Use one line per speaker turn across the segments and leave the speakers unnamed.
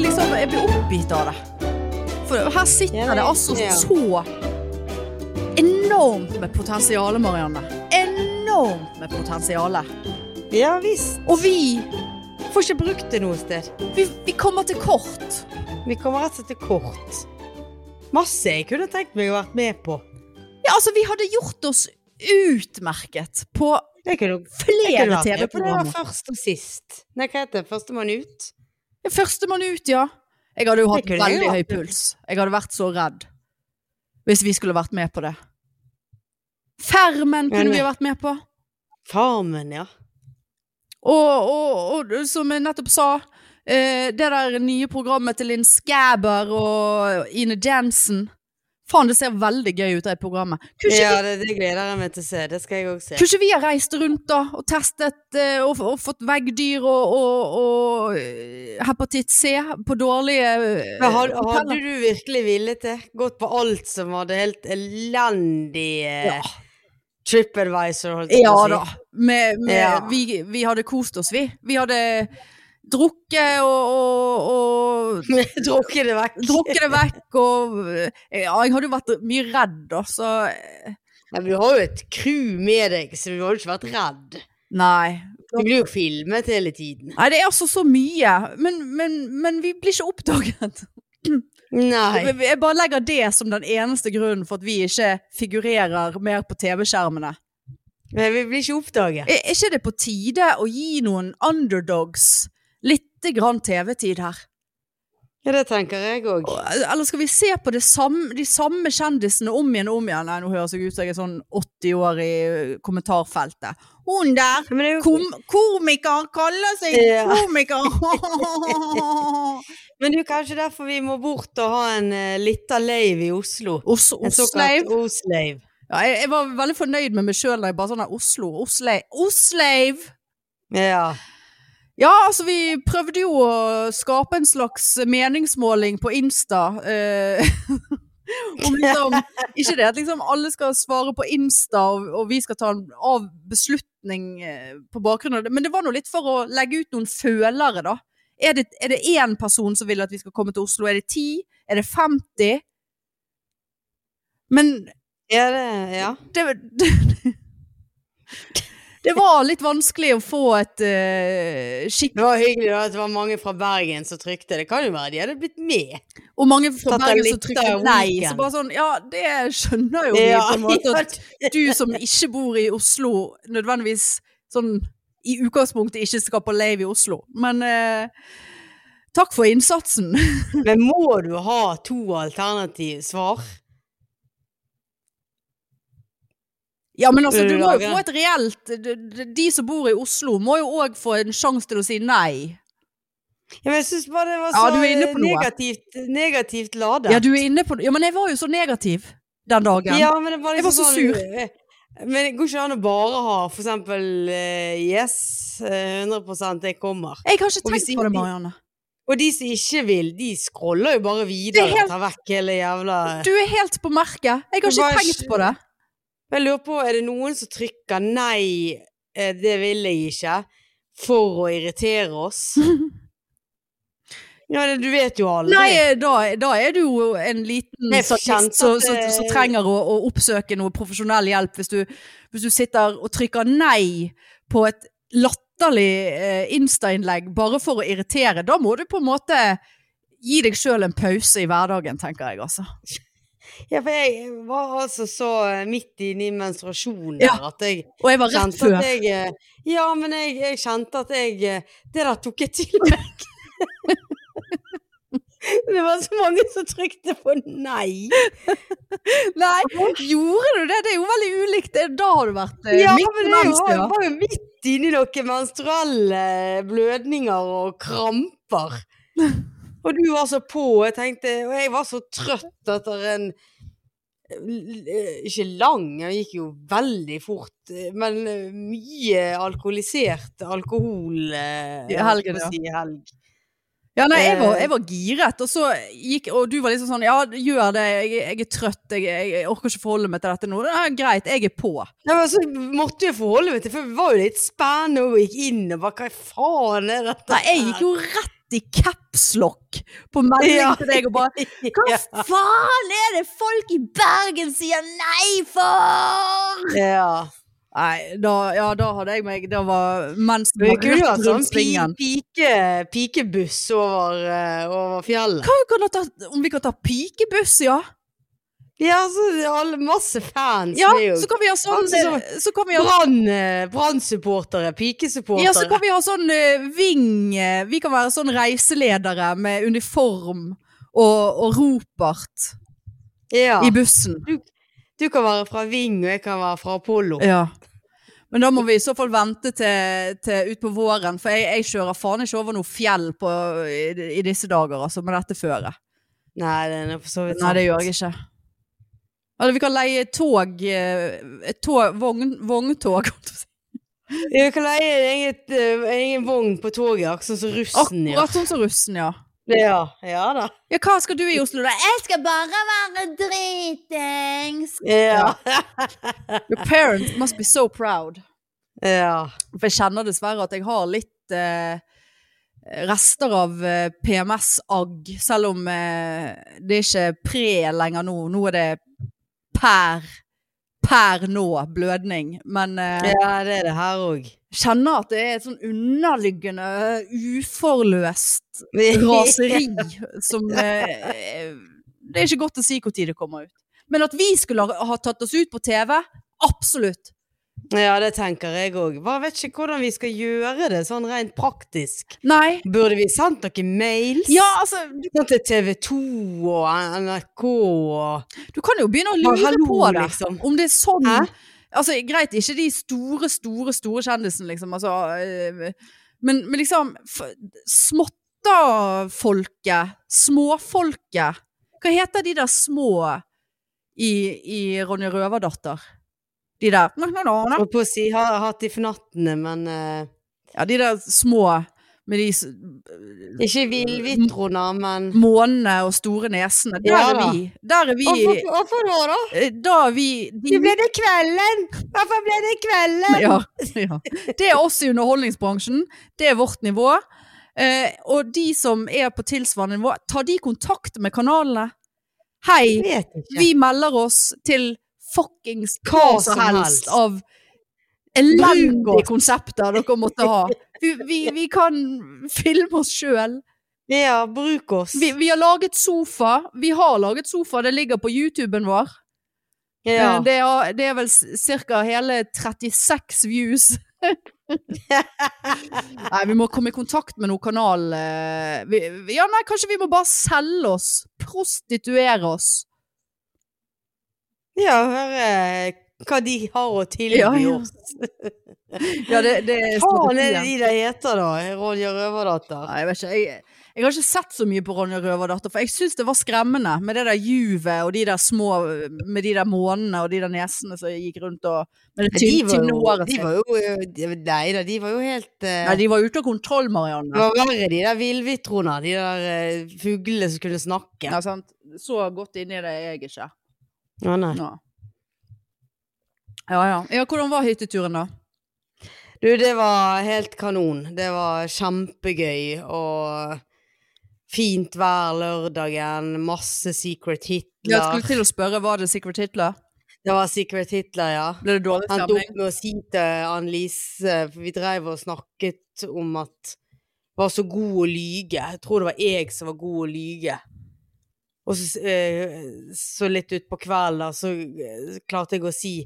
liksom, ut av det. For her
Ja,
sitter
det-
det altså
ja.
så enormt med potensiale, Marianne. Enormt med potensiale.
Ja visst.
Og vi,
Får ikke brukt det noe sted.
vi, vi kommer til kort.
Vi kommer rett og slett til kort. Masse jeg kunne tenkt meg å vært med på.
Ja, altså, vi hadde gjort oss utmerket på
Jeg kunne, jeg kunne
flere
vært med på det var
TV-programmer.
først og sist. Nei, hva heter det? Førstemann ut?
Førstemann ut, ja. Jeg hadde jo hatt
Det kunne jeg
veldig høy
vært.
puls. Jeg hadde vært så redd. Hvis vi skulle vært med på det. Fermen kunne
Enig.
vi vært med på.
Farmen, ja.
Og, og, og som jeg nettopp sa, eh, det der nye programmet til Linn Skæber og Ine Jensen Faen, det ser veldig gøy ut, det programmet. Kunne ikke,
Ja, det, det gleder jeg meg til å se. Det skal jeg òg
vi,
se.
kunne ikke vi ha reist rundt da og testet eh, og, og fått veggdyr og, og, og eh, hepatitt C på dårlige eh,
Men had,
hoteller?
hadde du virkelig villet det? Gått på alt som var det helt elendige
Ja.
TripAdvisor, holdt jeg på
Ja
å si.
da. Med, med,
Ja.
Vi, vi hadde kost oss, vi. Vi hadde drukket og, og, og
Drukket det vekk.
Drukket det vekk og eh, Ja, jeg hadde jo vært mye redd, da, så eh,
Nei, men du har jo et crew med deg, så du har jo ikke vært redd.
Nei.
Du blir jo filmet hele tiden.
Nei, det er altså så mye. Men, men, men vi blir ikke oppdaget.
Nei.
Jeg bare legger det som den eneste grunnen for at vi ikke figurerer mer på TV-skjermene.
Men vi blir ikke oppdaget.
Er er ikke det på tide å gi noen underdogs lite grann TV-tid her?
Ja, det tenker jeg òg.
Eller skal vi se på det samme, de samme kjendisene om igjen og om igjen? Nei, nå høres jeg ut som jeg er sånn 80 år i kommentarfeltet. Hun der!
Men det er jo
Kom, komiker kaller seg
Ja.
komiker!
men det er jo kanskje derfor vi må bort og ha en uh, lita leiv i Oslo.
Os-
En
Osleiv.
såkalt Osleiv.
Ja, jeg, jeg var veldig fornøyd med meg sjøl da jeg bare sånn der, Oslo, Osleiv Osleiv!
Ja.
Ja, altså vi prøvde jo å skape en slags meningsmåling på Insta. Eh, om liksom, ikke det at liksom alle skal svare på Insta, og, og vi skal ta en av beslutning eh, på bakgrunn av det. Men det var nå litt for å legge ut noen følere, da. Er det, er det én person som vil at vi skal komme til Oslo? Er det ti? Er det 50? Men
ja, det Ja.
det, det, det var litt vanskelig å få et eh, skikkelig
Det var hyggelig da at det var mange fra Bergen som trykte. Det kan jo være de hadde blitt med.
Og mange fra
Tatt deg
Bergen som
litt
trykker
av
nei.
weekend.
Så bare sånn, ja, det skjønner jo vi på en måte. At du som ikke bor i Oslo, nødvendigvis sånn i utgangspunktet ikke skal på lave i Oslo. Men eh, takk for innsatsen.
Men må du ha to alternativ svar?
Ja, men altså,
Vil
du
du
må jo
lage?
få et reelt de- de- De som bor i Oslo, må jo òg få en sjanse til å si nei.
Ja, men jeg syns bare det var
Ja,
så
du er inne
eh,
på noe.
negativt, negativt ladet.
Ja, du er inne på Ja, men jeg var jo så negativ den dagen.
Ja, men det var
Jeg var
liksom
så
sånn- Men det går ikke an å bare ha for eksempel eh, Yes, eh, 100 jeg kommer.
Jeg har ikke
Og vi
tenkt
sier
på det,
vi-
Marianne.
Og de som ikke vil, de scroller jo bare
Det
videre
er helt-
og tar vekk hele jævla
Du er helt på merket. Jeg har
Det var
ikke tenkt
ikke-
på det.
Jeg lurer på, er det noen som trykker nei, eh, det vil jeg ikke, for å irritere oss? Ja, det, du vet jo aldri.
Nei, eh, da, da er du jo en liten
Det er for
statist
kjent
som
at eh,
som-
det-
som trenger å, å oppsøke noe profesjonell hjelp hvis du, hvis du sitter og trykker nei på et latterlig eh, Insta-innlegg bare for å irritere. Da må du på en måte gi deg sjøl en pause i hverdagen, tenker jeg altså.
Ja, for jeg var altså så eh, midt inne i menstruasjonen
Ja.
der at jeg
Og jeg var rett
kjente
før.
at jeg eh, Ja, men jeg, jeg kjente at jeg eh, Det der tok jeg til meg. det var så mange som trykte på nei.
Nei, gjorde du det? Det er jo veldig ulikt. Det- Da har du vært eh,
Ja,
midt
men
i
det
mens,
var,
ja.
var jo midt inni noen menstruelle blødninger og kramper. Og du var så på, og jeg tenkte Og jeg var så trøtt etter en l- eh, Ikke lang, jeg gikk jo veldig fort, eh, men eh, mye alkoholisert alkohol eh,
I helgen,
holdt på å Si, i helg.
Ja, nei, jeg var,
Eh.
jeg var giret, og så gikk Og du var liksom sånn Ja, gjør det, jeg, jeg er trøtt, jeg, jeg, jeg orker ikke forholde meg til dette nå. Ja, greit, jeg er på.
Ja, men så måtte jeg forholde meg til, for det var jo litt spennende og gikk inn og bare Hva faen er dette?
Nei, jeg
her?
gikk jo rett sett i capslock på melding
Ja.
til deg og bare Hva
Ja.
faen er det folk i Bergen sier nei for?!
Ja.
Nei, da, ja, da hadde jeg meg Det var mens
Vi kunne jo hatt sånn
rundt
pi,
svingen.
pike, pikebuss over, eh, over fjellet.
Hva vi kan ta, om vi kan ta pikebuss, ja?
Ja, så alle masse fans.
Ja,
det er jo
så kan vi ha sånn,
Altså,
så kan vi ha
Brann, eh, Brann-supportere, pikesupportere.
Ja, så kan vi ha sånn eh, ving eh, Vi kan være sånn reiseledere med uniform og, og ropert
Ja.
i bussen.
Du kan være fra Ving, og jeg kan være fra Apollo.
Ja. Men da må vi i så fall vente til, til utpå våren, for jeg, jeg kjører faen ikke over noe fjell på, i, i disse dager, altså, med dette føret.
Nei, den er for så vidt
Nei, det gjør jeg ikke. Eller vi kan leie tog, eh, et tog vogn, Vogntog. holdt jeg på å si.
Vi kan leie en eget, eh, egen vogn på toget, akkurat sånn som russen gjør.
Akkurat sånn som russen, ja.
Ja, ja da.
Ja, hva skal du i Oslo, da? Jeg skal bare være dritings.
Ja.
Your parents must be so proud.
ja.
For jeg kjenner dessverre at jeg har litt eh, rester av eh, PMS-agg, selv om eh, det er ikke pre lenger nå. Nå er det per, per nå blødning. Men eh,
ja, det er det her òg.
jeg kjenner at det er et sånn underliggende, uforløst raseri som eh, Det er ikke godt å si når det kommer ut. Men at vi skulle ha ha tatt oss ut på TV, absolutt.
Ja, det tenker jeg òg. Bare vet ikke hvordan vi skal gjøre det sånn rent praktisk.
Nei.
Burde vi sendt noen mails?
Ja, altså,
Sånn til TV 2 og NRK og
Du kan jo begynne å
Bare
lure
hallo,
på det.
liksom.
Om det er sånn
Hæ?
Altså, Greit, ikke de store, store store kjendisene, liksom. Altså, eh, men, men liksom f- Småttafolket. Småfolket. Hva heter de der små i, i Ronja Røverdatter? De der
Og på å si har hatt de fnattene, men eh,
Ja, de der små med de s-
Ikke villvitrona, men
månene og store nesene. Der
Ja
er
da.
vi. Der er vi
Hvorfor hvorfor nå, da?
eh, Da er vi de
Det ble det kvelden! Hvorfor ble det kvelden?
Ja, ja. Det er oss i underholdningsbransjen. Det er vårt nivå. Eh, og de som er på tilsvarende nivå, tar de kontakt med kanalene? Hei,
Jeg vet ikke.
vi melder oss til fuckings hva
Hva
som
som
helst
helst.
av
Bruk
elendige
oss.
konsepter dere måtte ha. Vi, vi, vi kan filme oss sjøl.
Ja, bruk oss.
Vi, vi har laget sofa. Vi har laget sofa, det ligger på YouTuben vår.
ja.
Eh, Det, er, det er vel ca. hele 36 views. nei, vi må komme i kontakt med noen kanal... eh, Vi, vi- ja, nei, kanskje vi må bare selge oss. Prostituere oss.
ja, høre hva de har å tilby
Ja, ja.
oss.
Ja, det, det er
Hva er det
strategien.
de der heter, da? Ronja Røverdatter?
Nei, jeg vet ikke. Jeg, jeg har ikke sett så mye på Ronja Røverdatter, for jeg syns det var skremmende med det der juvet og de der små Med de der månene og de der nesene som gikk rundt og Med det
De
tynne
var
tynne
jo,
håret
de
sitt.
var jo de- Nei da, de var jo helt eh,
Nei, de var ute av kontroll,
Det
Marianne.
var verre, de der villvitrona. De der eh, fuglene som kunne snakke.
Ja, sant? Så godt inni det er jeg ikke.
Å, nei.
Ja. Ja, ja. ja, hvordan var hytteturen da?
Du, det var helt kanon. Det var kjempegøy og fint vær lørdagen. Masse Secret
Jeg
Hitler.
skulle til å spørre, var det Secret Hitler?
Det var Secret Hitler, ja.
Ble det dårlig
Han tok
stemning?
med å si til Annelise For vi drev og snakket om at var så god å lyge. Jeg tror det var jeg som var god å lyge. Og så, eh, så litt utpå kvelden, da, så eh, klarte jeg å si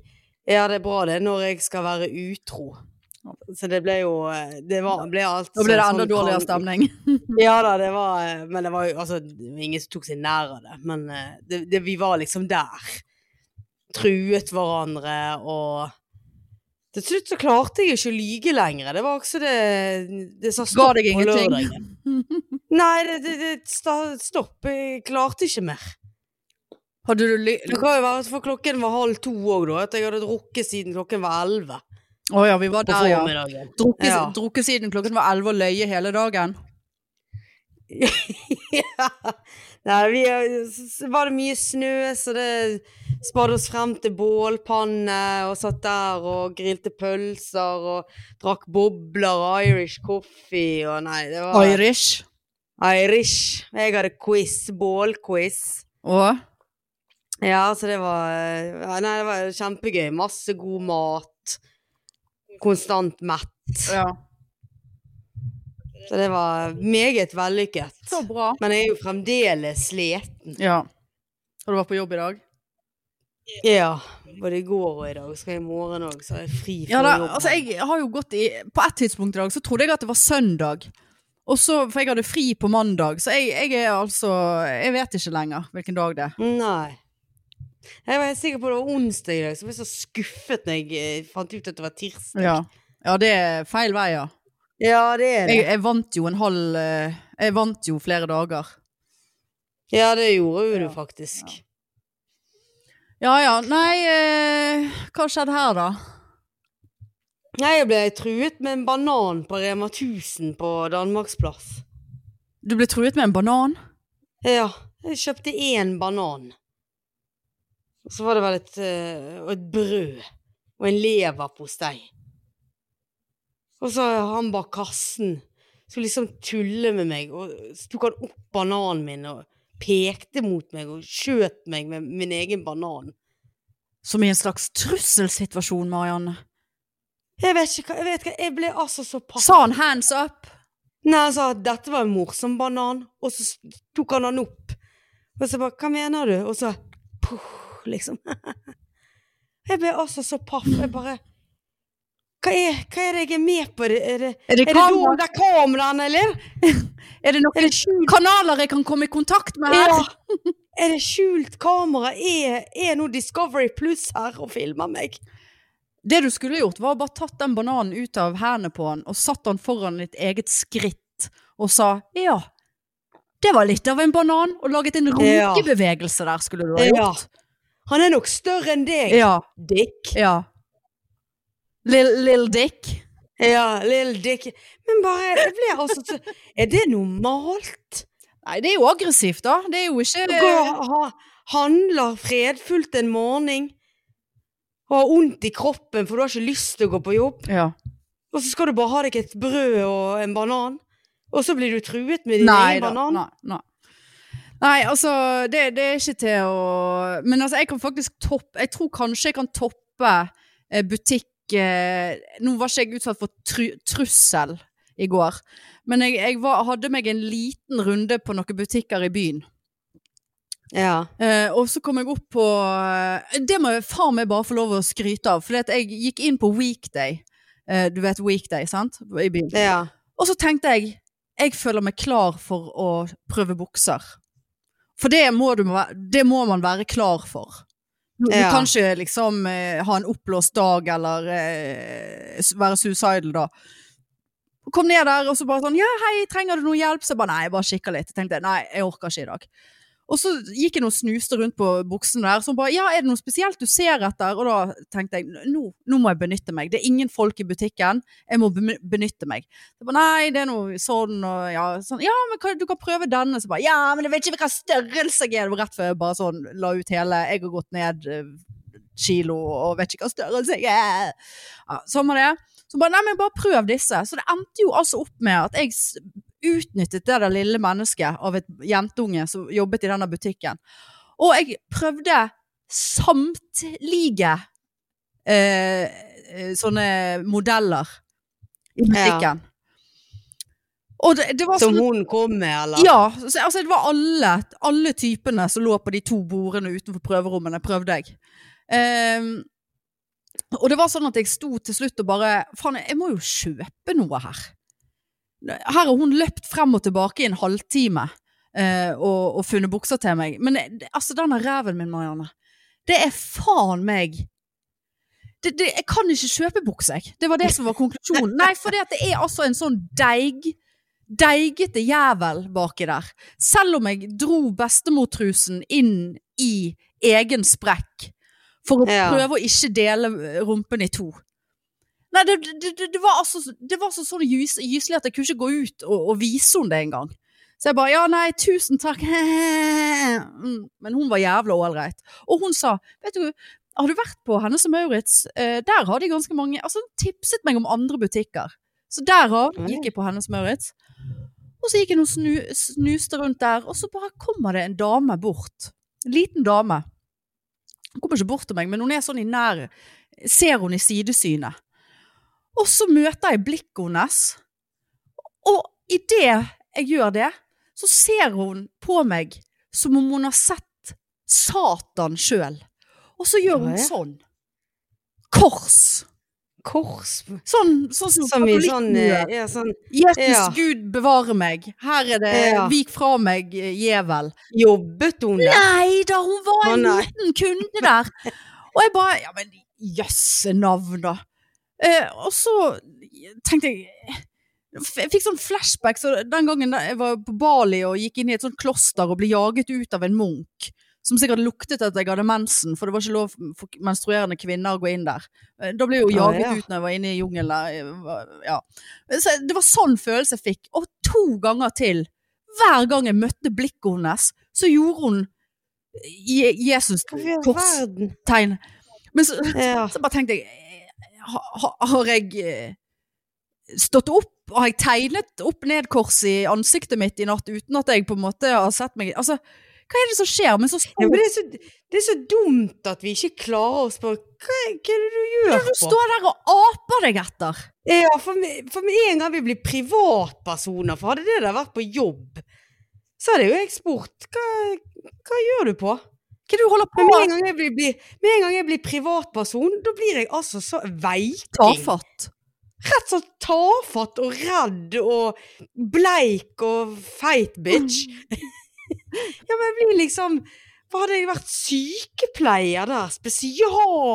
Ja, det er bra det, når jeg skal være utro. Så det ble jo eh, Det var, ble alt
Da ble det
sånn-
enda
sånn
dårligere
krang-
stemning.
Ja da, det var eh, Men det var jo altså det var Ingen som tok seg nær av det. Men eh, det, det, vi var liksom der. Truet hverandre og Til slutt så klarte jeg jo ikke å lyge lenger. Det var også det Det sa
Ga
stopp
deg
på
ingenting.
lørdagen. Nei, det, det, det sta- stopp. Jeg klarte ikke mer.
Hadde du ly...
Det kan jo være at for klokken var halv to òg, da. At jeg hadde drukket siden klokken var elleve
Å ja, vi var
på
der, ja.
formiddagen.
Drukket,
Ja.
drukket siden klokken var elleve og løye hele dagen.
Ja. Nei, vi eh, s- s- var det mye snø, så det spadde oss frem til bålpanne og satt der og grilte pølser og drakk bobler og Irish coffee og nei, det var
Irish.
Irish. Jeg hadde quiz. Bålquiz.
Og
Ja, så det var ja, Nei, det var kjempegøy. Masse god mat. Konstant mett.
ja.
Så det var meget vellykket.
Så bra.
Men jeg er jo fremdeles sliten.
Ja. Har du vært på jobb i dag?
Ja. Både i går og i dag. Skal jeg i morgen òg, så er jeg fri fra
Ja, da,
jobben.
altså jeg har jo gått i På et tidspunkt i dag så trodde jeg at det var søndag. Og så, For jeg hadde fri på mandag, så jeg, jeg er altså Jeg vet ikke lenger hvilken dag det er.
Nei. Jeg var helt sikker på det var onsdag i dag, så jeg ble så skuffet når jeg eh, fant ut at det var tirsdag.
Ja, ja det er feil vei, ja.
Ja, det er det.
Jeg, jeg vant jo en halv eh, Jeg vant jo flere dager.
Ja, det gjorde jo du faktisk.
Ja ja, nei eh, Hva skjedde her, da?
Nei, jeg ble truet med en banan på Rema 1000 på Danmarksplass.
Du ble truet med en banan?
Ja, jeg kjøpte én banan. Og så var det vel et, eh, og et brød og en leverpostei. Og så han bak kassen skulle liksom tulle med meg, og så tok han opp bananen min og pekte mot meg og skjøt meg med min egen banan.
Som i en slags trusselsituasjon, Marianne.
Jeg vet ikke hva, jeg, vet ikke, jeg ble altså så paff.
Sa han 'hands up'?
Nei, han sa at dette var en morsom banan, og så s- tok han den opp. Og så bare, hva mener du? Og så, puh, liksom. Jeg ble altså så paff, jeg bare, hva er, hva er det jeg er med på? Er det, er
Er
det,
det,
er det
kamera-
dårlig- det er kameraen, eller?
er det
Er
noen
det skjult?
kanaler jeg kan komme i kontakt med her?
Ja. Er det skjult kamera? Er, er nå Discovery Plus her og filmer meg?
Det du skulle gjort, var bare tatt den bananen ut av hendene på han, og satt han foran ditt eget skritt, og sa 'ja, det var litt av en banan', og laget en
Ja.
runkebevegelse der, skulle du ha
Ja.
gjort.
Han er nok større enn deg,
Ja.
Dick.
ja. Lill, lill Dick.
Ja, lille Dick. Men bare, jeg ble altså så, er det normalt?
Nei, det er jo aggressivt, da. Det er jo ikke
Går og ha- handler fredfullt en morgen og har vondt i kroppen, for du har ikke lyst til å gå på jobb.
ja.
Og så skal du bare ha deg et brød og en banan, og så blir du truet med din
Nei
egen
da.
banan.
Nei, nei. nei, altså, det, det er ikke til å Men altså, jeg kan faktisk toppe Jeg tror kanskje jeg kan toppe eh, butikk eh, Nå var ikke jeg utsatt for tru, trussel i går, men jeg, jeg var, hadde meg en liten runde på noen butikker i byen.
Ja.
Eh, og så kom jeg opp på eh, Det må jeg faen meg bare få lov å skryte av, for jeg gikk inn på weekday. Eh, du vet weekday, sant? I byen.
ja.
Og så tenkte jeg jeg føler meg klar for å prøve bukser. For det må, du, være- det må man være klar for. Du, du
Ja.
kan ikke liksom eh, ha en oppblåst dag eller eh, s- være suicidal da. Kom ned der og så bare sånn Ja, hei, trenger du noe hjelp? Så jeg bare nei, jeg bare kikker litt. Jeg tenkte nei, jeg orker ikke i dag. Og så gikk jeg og snuste rundt på buksene der, som bare Ja, er det noe spesielt du ser etter? Og da tenkte jeg nå, nå må jeg benytte meg. Det er ingen folk i butikken. Jeg må be- benytte meg. Så bare, Nei, det er noe sånn og ja, sånn. Ja, men hva, du kan prøve denne. Så bare Ja, men jeg vet ikke hvilken størrelse jeg er. Det var rett før jeg bare sånn la ut hele Jeg har gått ned eh, kilo og vet ikke hva størrelse jeg er. Ja, sånn var det. Så bare Nei, men bare prøv disse. Så det endte jo altså opp med at jeg s- utnyttet det der lille mennesket av et jentunge som jobbet i denne butikken. Og jeg prøvde samtlige eh, eh, sånne modeller i butikken. Og det, det var
Som
sånn
hun kom med, eller?
ja, så, altså det var alle, alle typene som lå på de to bordene utenfor prøverommene, prøvde jeg. Ehm, og det var sånn at jeg sto til slutt og bare Faen, jeg må jo kjøpe noe her. Her har hun løpt frem og tilbake i en halvtime eh, og, og funnet bukser til meg. Men det- altså, denne ræven min, Marianne, det er faen meg det, det, Jeg kan ikke kjøpe bukse, jeg. Det var det som var konklusjonen. Nei, for det er altså en sånn deig deigete jævel baki der. Selv om jeg dro bestemortrusen inn i egen sprekk for å
Ja.
prøve å ikke dele eh, rumpen i to. Nei, det, det, det, det var altså det var så sånn gys, gyselig at jeg kunne ikke gå ut og, og vise henne det engang. Så jeg bare ja, nei, tusen takk. Mm, Men hun var jævla ålreit. Og hun sa, vet du, har du vært på Hennes og Maurits? Eh, der har de ganske mange Altså, hun tipset meg om andre butikker. Så derav
Mm.
gikk jeg på Hennes og Maurits. Og så gikk jeg og snu, snuste rundt der, og så bare kommer det en dame bort. En liten dame. Hun kommer ikke bort til meg, men hun er sånn i nær Ser hun i sidesynet. Og så møter jeg blikket hennes, og idet jeg gjør det, så ser hun på meg som om hun har sett Satan sjøl. Og så gjør hun
Ja, ja.
sånn. Kors!
Kors
Sånn, sånn som
Som i sånn,
katolikken gjør.
eh, ja, sånn
Jesus,
Ja.
Gud bevare meg. Her er det
Ja.
Vik fra meg, eh, djevel.
Jobbet hun der?
Nei da, hun var en
Å, nei.
liten kunde der. Og jeg bare Ja, men jøsse navn, da. Eh, og så tenkte jeg f- jeg fikk sånn flashback. Så den gangen da jeg var på Bali og gikk inn i et sånt kloster og ble jaget ut av en munk, som sikkert luktet at jeg hadde mensen, for det var ikke lov for menstruerende kvinner å gå inn der. Eh, Da ble jeg jo
Ah,
jaget
ja.
ut når jeg var inne i jungelen. der. Jeg var- Ja. Så det var sånn følelse jeg fikk. Og to ganger til, hver gang jeg møtte blikket hennes, så gjorde hun Je
Hvorfor i all
Jesus-korstegn.
verden?
Men så,
Ja.
så bare tenkte jeg eh, ha, ha, Har jeg eh, stått opp? Har jeg tegnet opp ned kors i ansiktet mitt i natt uten at jeg på en måte har sett meg Altså, hva er det som skjer? Men så
Ja,
står
men det, er så, det er så dumt at vi ikke klarer å spørre hva, hva er det du
du
gjør på?
står der og aper deg etter.
Ja, for med, for med en gang vi blir privatpersoner, for hadde det der vært på jobb, så hadde jo jeg spurt hva, hva gjør du på?
Hva er det du holder på
Men med en
med?
gang jeg blir, blir, med en gang jeg blir privatperson, da blir jeg altså så veiking.
Tafatt.
Rett sånn tafatt og redd og bleik og feit bitch. Ja, men jeg blir liksom Hva hadde jeg vært sykepleier der?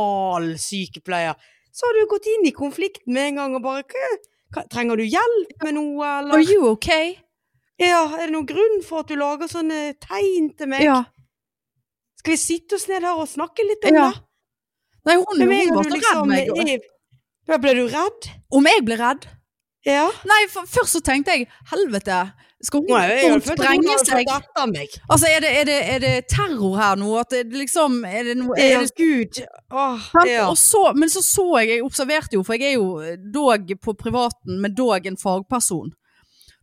Spesialsykepleier. Så hadde du gått inn i konflikten med en gang og bare «Hva- hva- Trenger du hjelp med noe,
Are
eller?
you okay?
Ja, er det noen grunn for at du lager sånne tegn til meg?
Ja.
Skal vi sitte oss ned her og snakke litt om
Ja.
det?
Nei, hun,
Men
hun
med en gang
var
du
så redd
liksom
meg.
er- Ja, Ble du redd?
Om jeg ble redd?
Ja.
Nei, for, først så tenkte jeg helvete, skal hun,
Nei,
skal
jeg
hun
følte at hun
sprenge
hadde
seg?
fått etter meg.
Altså, er det, er, det, er det terror her nå? At det liksom Er det, noe- er
Ja,
det
gud. Åh,
Sant?
ja.
Og så, men så så jeg, jeg observerte jo, for jeg er jo dog på privaten, men dog en fagperson.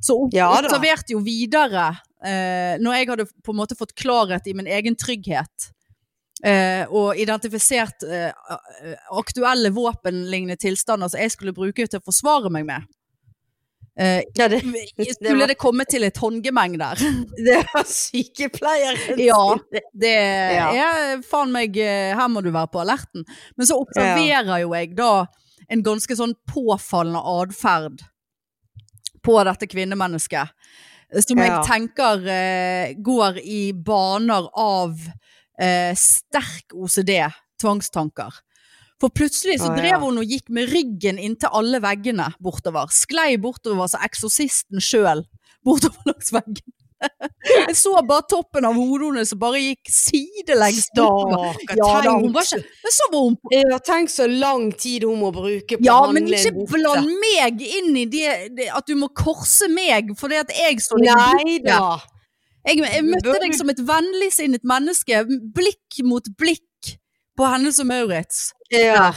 Så ob-
Ja da.
observerte jo videre, eh, når jeg hadde på en måte fått klarhet i min egen trygghet, eh, og identifisert eh, a- aktuelle våpenlignende tilstander som jeg skulle bruke til å forsvare meg med. Eh,
ja det,
skulle det komme til et håndgemeng der?
det var sykepleieren
Ja.
sin.
Det
Ja.
er faen meg eh, Her må du være på alerten. Men så observerer jo jeg da en ganske sånn påfallende atferd på dette kvinnemennesket. eh, Som
Ja.
jeg tenker eh, går i baner av eh, sterk OCD, tvangstanker. For plutselig så
Å, ja.
drev hun og gikk med ryggen inntil alle veggene bortover. Sklei bortover som eksorsisten sjøl bortover langs veggen. Jeg så bare toppen av hodet hennes som bare gikk sidelengs bortover.
Stakkar.
Ja, da, hun
tenk,
var ikke, men så var hun på
ja, tenk så lang tid hun må bruke på
Ja,
å
men
handle en
ikke
bukse.
bland meg inn i det, det at du må korse meg fordi at jeg står i
Nei
bordet.
da.
Jeg, jeg møtte
Bør
deg
du-
som et vennligsinnet menneske, blikk mot blikk på Hennes og Maurits.
Ja.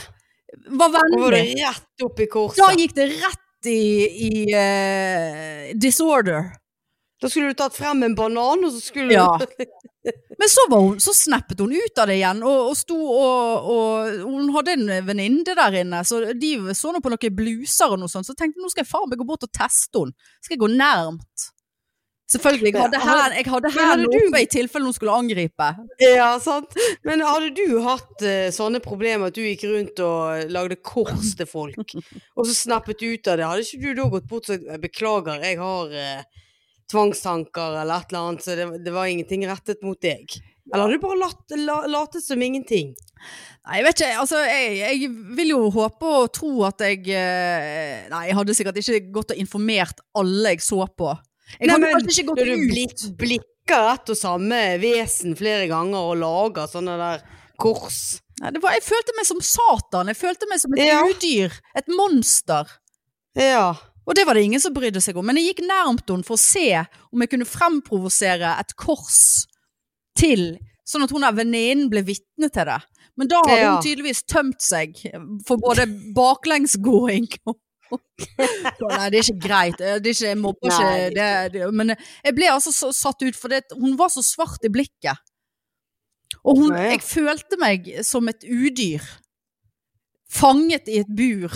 Var
Nå var det
vennlig.
rett opp i
Da
korset.
gikk det rett i, i eh, disorder.
Da skulle du tatt frem en banan, og så skulle
Ja.
du
Men så, var hun, så snappet hun ut av det igjen, og, og sto og, og Hun hadde en venninne der inne, så de så nå på noen bluser og noe sånt, så jeg tenkte nå skal jeg faen meg gå bort og teste henne. Skal jeg gå nærmt? Selvfølgelig. Jeg hadde
Men har-
hæl- jeg hadde
men hadde
hendene
du-
oppe i tilfelle hun skulle angripe.
Ja, sant. Men hadde du hatt eh, sånne problemer at du gikk rundt og lagde kors til folk, og så snappet du ut av det, hadde ikke du da gått bort og sagt «Jeg beklager, jeg har eh, tvangstanker eller et eller annet, så det, det var ingenting rettet mot deg? Eller hadde du bare latt, la, latet som ingenting?
Nei, jeg vet ikke. Altså, jeg, jeg vil jo håpe og tro at jeg eh, Nei, jeg hadde sikkert ikke gått og informert alle jeg så på. Jeg
Nei,
hadde
men
kanskje ikke gått
Når du
ut.
blikk, blikker ett og samme vesen flere ganger og lager sånne der kors?
Nei, det var, jeg følte meg som Satan. Jeg følte meg som et
Ja.
udyr. Et monster.
Ja.
Og det var det ingen som brydde seg om. Men jeg gikk nærmt henne for å se om jeg kunne fremprovosere et kors til, sånn at hun der venninnen ble vitne til det. Men da hadde
Ja.
hun tydeligvis tømt seg for både baklengsgåing og Nei, det er ikke greit. Eh, Det er ikke, jeg mobber
Nei,
ikke det, det. Men jeg ble altså så, satt ut, for det, hun var så svart i blikket. Og hun,
Ja, ja.
jeg følte meg som et udyr. Fanget i et bur.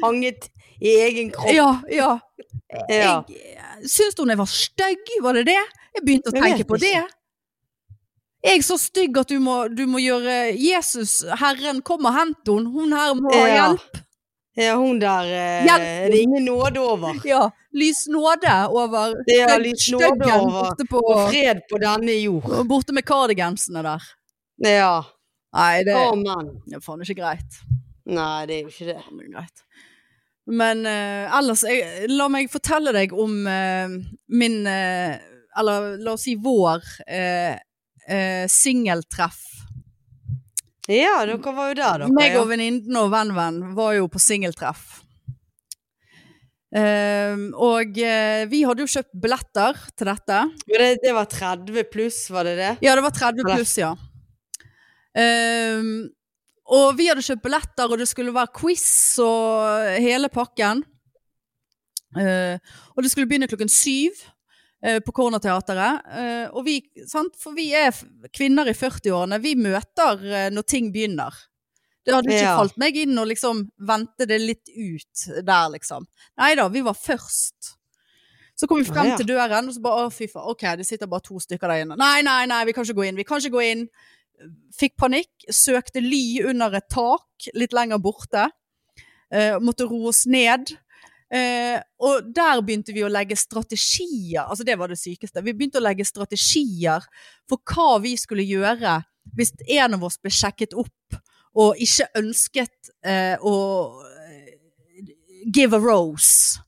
Fanget i egen kropp.
Ja, ja.
Ja.
Jeg eh, syns hun jeg var stygg, var det det? Jeg begynte å
Jeg
tenke
vet
på det.
ikke.
Jeg er så stygg at du må, du må gjøre Jesus, Herren, kom og hent henne. Hun her må ha
Ja.
hjelp.
Ja, hun der eh,
Hjelp!
er Det er ingen nåde over.
Ja. Lys nåde over
Det er
stygg-
lys nåde
styggen
over.
borte, på,
Og fred på denne jord.
borte med kardigansene der.
Ja.
Nei, det er
Amen.
faen ikke greit.
Nei, det er jo ikke det.
Faen, det er greit. Men eh, ellers, jeg, la meg fortelle deg om eh, min eh, Eller la oss si vår eh, eh, singeltreff.
Ja, dere var jo der, dere.
Meg
ja.
og venninnen og venn-venn var jo på singeltreff. Ehm, og eh, vi hadde jo kjøpt billetter til dette.
Men det, det var 30 pluss, var det det?
Ja, det var 30
Eller-
pluss, ja. Ehm, og vi hadde kjøpt billetter, og det skulle være quiz og hele pakken. Eh, og det skulle begynne klokken syv eh, på Cornerteatret. Eh, og vi, sant? For vi er f- kvinner i 40-årene. Vi møter eh, når ting begynner. Det hadde ikke
Ja.
falt meg inn å liksom vente det litt ut der, liksom. Nei da, vi var først. Så kom vi frem
Ah, ja.
til døren, og så bare å, fy faen, ok, det sitter bare to stykker der inne. Nei, nei, nei, vi kan ikke gå inn, vi kan ikke gå inn. Fikk panikk, søkte ly under et tak litt lenger borte. Eh, måtte roe oss ned. Eh, og der begynte vi å legge strategier, altså det var det sykeste. Vi begynte å legge strategier for hva vi skulle gjøre hvis en av oss ble sjekket opp og ikke ønsket eh, å eh, give a rose,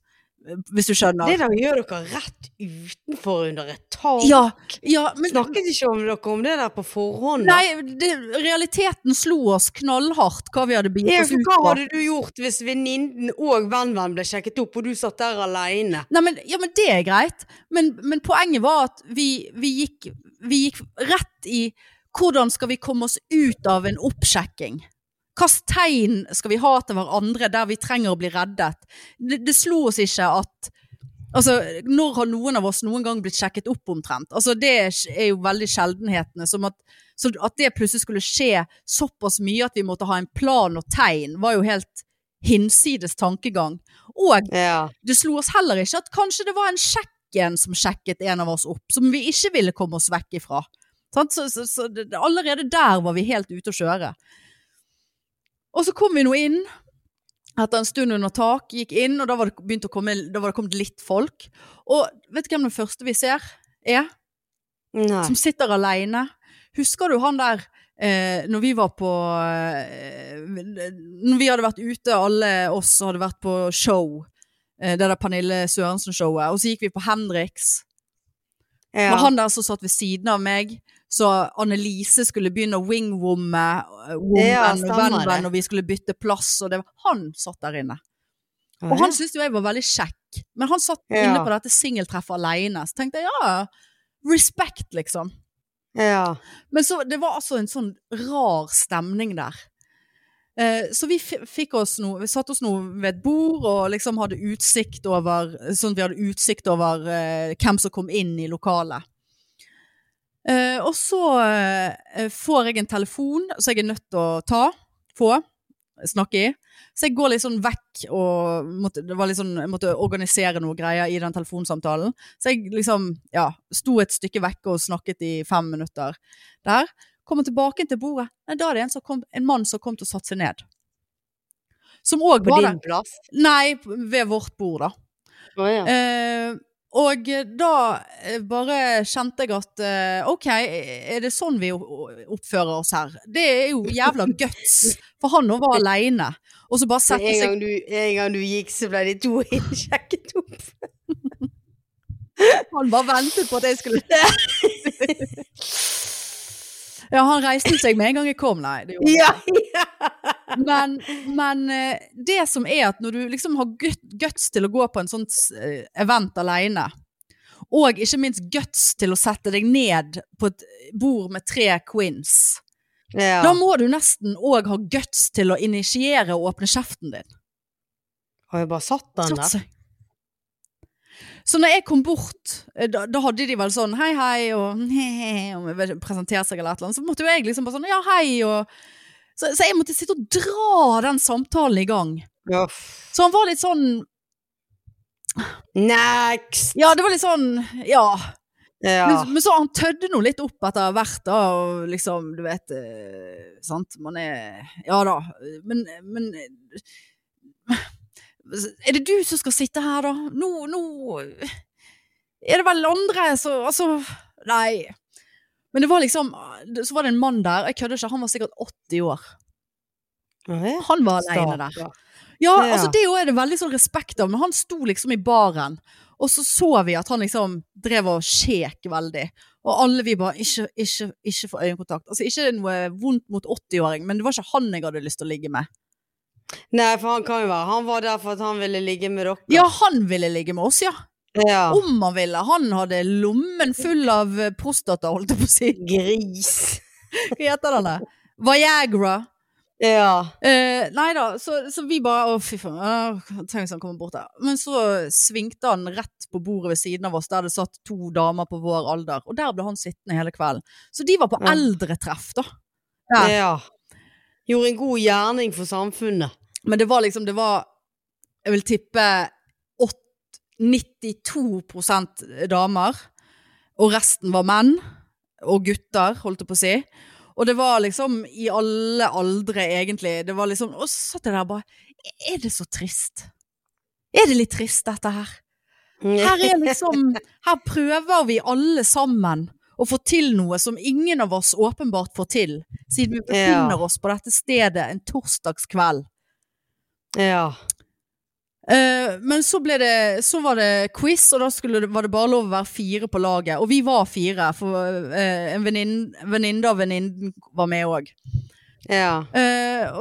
hvis du skjønner.
Det da gjør dere rett utenfor under et tak.
Ja, ja men
Snakket ikke om dere om det der på forhånd? da?
Nei, det, realiteten slo oss knallhardt hva vi hadde begitt
Ja,
oss
for
ut
hva
på.
hadde du gjort hvis venninnen og vennen ble sjekket opp, og du satt der alene?
Nei, men, ja, men det er greit. Men, men poenget var at vi, vi, gikk, vi gikk rett i hvordan skal vi komme oss ut av en oppsjekking? Hvilke tegn skal vi ha til hverandre der vi trenger å bli reddet? Det, det slo oss ikke at Altså, når har noen av oss noen gang blitt sjekket opp omtrent? Altså, det er sj- er jo veldig sjeldenhetene. Som at, så at det plutselig skulle skje såpass mye at vi måtte ha en plan og tegn, var jo helt hinsides tankegang. Og
Ja.
det slo oss heller ikke at kanskje det var en sjekken som sjekket en av oss opp, som vi ikke ville komme oss vekk ifra. Sant? Så, så, så det, det- allerede der var vi helt ute å kjøre. Og så kom vi nå inn, etter en stund under tak, gikk inn, og da var det, begynt å komme, da var det kommet litt folk. Og vet du hvem den første vi ser er?
Nei.
Som sitter aleine. Husker du han der eh, når vi var på eh, Når vi hadde vært ute, alle oss hadde vært på show. Eh, det der Pernille Sørensen-showet. Og så gikk vi på Hendrix.
Ja.
Men han der som satt ved siden av meg, så Annelise skulle begynne å wingwomme eh, woman
Ja,
og
stemmer det.
venn-venn, og vi skulle bytte plass, og det var Han satt der inne. Og han syntes jo jeg var veldig kjekk, men han satt
Ja.
inne på dette singeltreffet aleine. Så tenkte jeg ja, respect, liksom.
Ja.
Men så, det var altså en sånn rar stemning der. Eh, så vi, f- fikk oss noe, vi satt oss nå ved et bord og liksom hadde utsikt over, sånn at vi hadde utsikt over eh, hvem som kom inn i lokalet. Eh, og så eh, får jeg en telefon som jeg er nødt til å ta, få, snakke i. Så jeg går litt sånn vekk og måtte, det var litt sånn, jeg måtte organisere noe greier i den telefonsamtalen. Så jeg liksom, ja, sto et stykke vekk og snakket i fem minutter der. Kommer tilbake til bordet. Nei, da er det en, som kom, en mann som kom til å satte seg ned. Som òg
På
var
din
der.
plass?
Nei, ved vårt bord, da.
Å, ja.
Eh, og da eh, bare kjente jeg at eh, OK, er det sånn vi o- oppfører oss her? Det er jo jævla guts, for han nå var aleine. Og så bare
Med
sette
en,
seg
gang du, en gang du gikk, så ble de to innsjekket opp.
Han bare ventet på at jeg skulle Ja, han reiste seg med en gang jeg kom, nei. Det gjorde han
Ja,
men, men eh, det som er at når du liksom har gut- guts til å gå på en sånn eh, event alene, og ikke minst guts til å sette deg ned på et bord med tre queens,
ja.
da må du nesten òg ha guts til å initiere og åpne kjeften din.
Har jeg bare satt den
Satt
der?
seg. Så når jeg kom bort, eh, da, da hadde de vel sånn hei, hei, og, he-he, og jeg vet ikke, presentere seg eller et eller annet. Så måtte jo jeg liksom bare sånn ja, hei, og så, så jeg måtte sitte og dra den samtalen i gang.
Ja.
Så han var litt sånn
Next!
Ja, det var litt sånn Ja.
Ja.
Men, men så han tødde nå litt opp etter hvert, da, og liksom, du vet eh, Sant, man er Ja da, men, men Er det du som skal sitte her, da? Nå, nå Er det vel andre som Altså, nei. Men det var liksom Så var det en mann der, jeg kødder ikke, han var sikkert 80 år.
Ja,
Han var aleine der. Ja,
Ja.
altså det også er det veldig sånn respekt av, men han sto liksom i baren, og så så vi at han liksom drev og sjek veldig. Og alle vi bare, ikke, ikke, ikke få øyekontakt. Altså ikke noe vondt mot 80-åring, men det var ikke han jeg hadde lyst til å ligge med.
Nei, for han kan jo være Han var der for at han ville ligge med dere.
Ja, han ville ligge med oss, ja.
ja.
Om han ville. Han hadde lommen full av eh, prostata, holdt jeg på å si.
Gris.
Hva heter den der? Viagra.
Ja.
Eh, nei da, så, så vi bare Å, fy faen. Uh, Tenk hvis han kommer bort der. Men så svingte han rett på bordet ved siden av oss, der det satt to damer på vår alder. Og der ble han sittende hele kvelden. Så de var på
Ja.
eldretreff, da.
ja.
Ja.
Gjorde en god gjerning for samfunnet.
Men det var liksom Det var Jeg vil tippe ått- 92 damer. Og resten var menn. Og gutter, holdt jeg på å si. Og det var liksom i alle aldre, egentlig. Det var liksom Og så satt jeg der og bare Er det så trist? Er det litt trist, dette her?
Mm.
Her er liksom Her prøver vi alle sammen å få til noe som ingen av oss åpenbart får til, siden vi
Ja.
befinner oss på dette stedet en torsdagskveld.
Ja.
Eh, men så, ble det, så var det quiz, og da skulle det, var det bare lov å være fire på laget. Og vi var fire, for eh, en venninne venninne av venninnen var med òg.
Ja.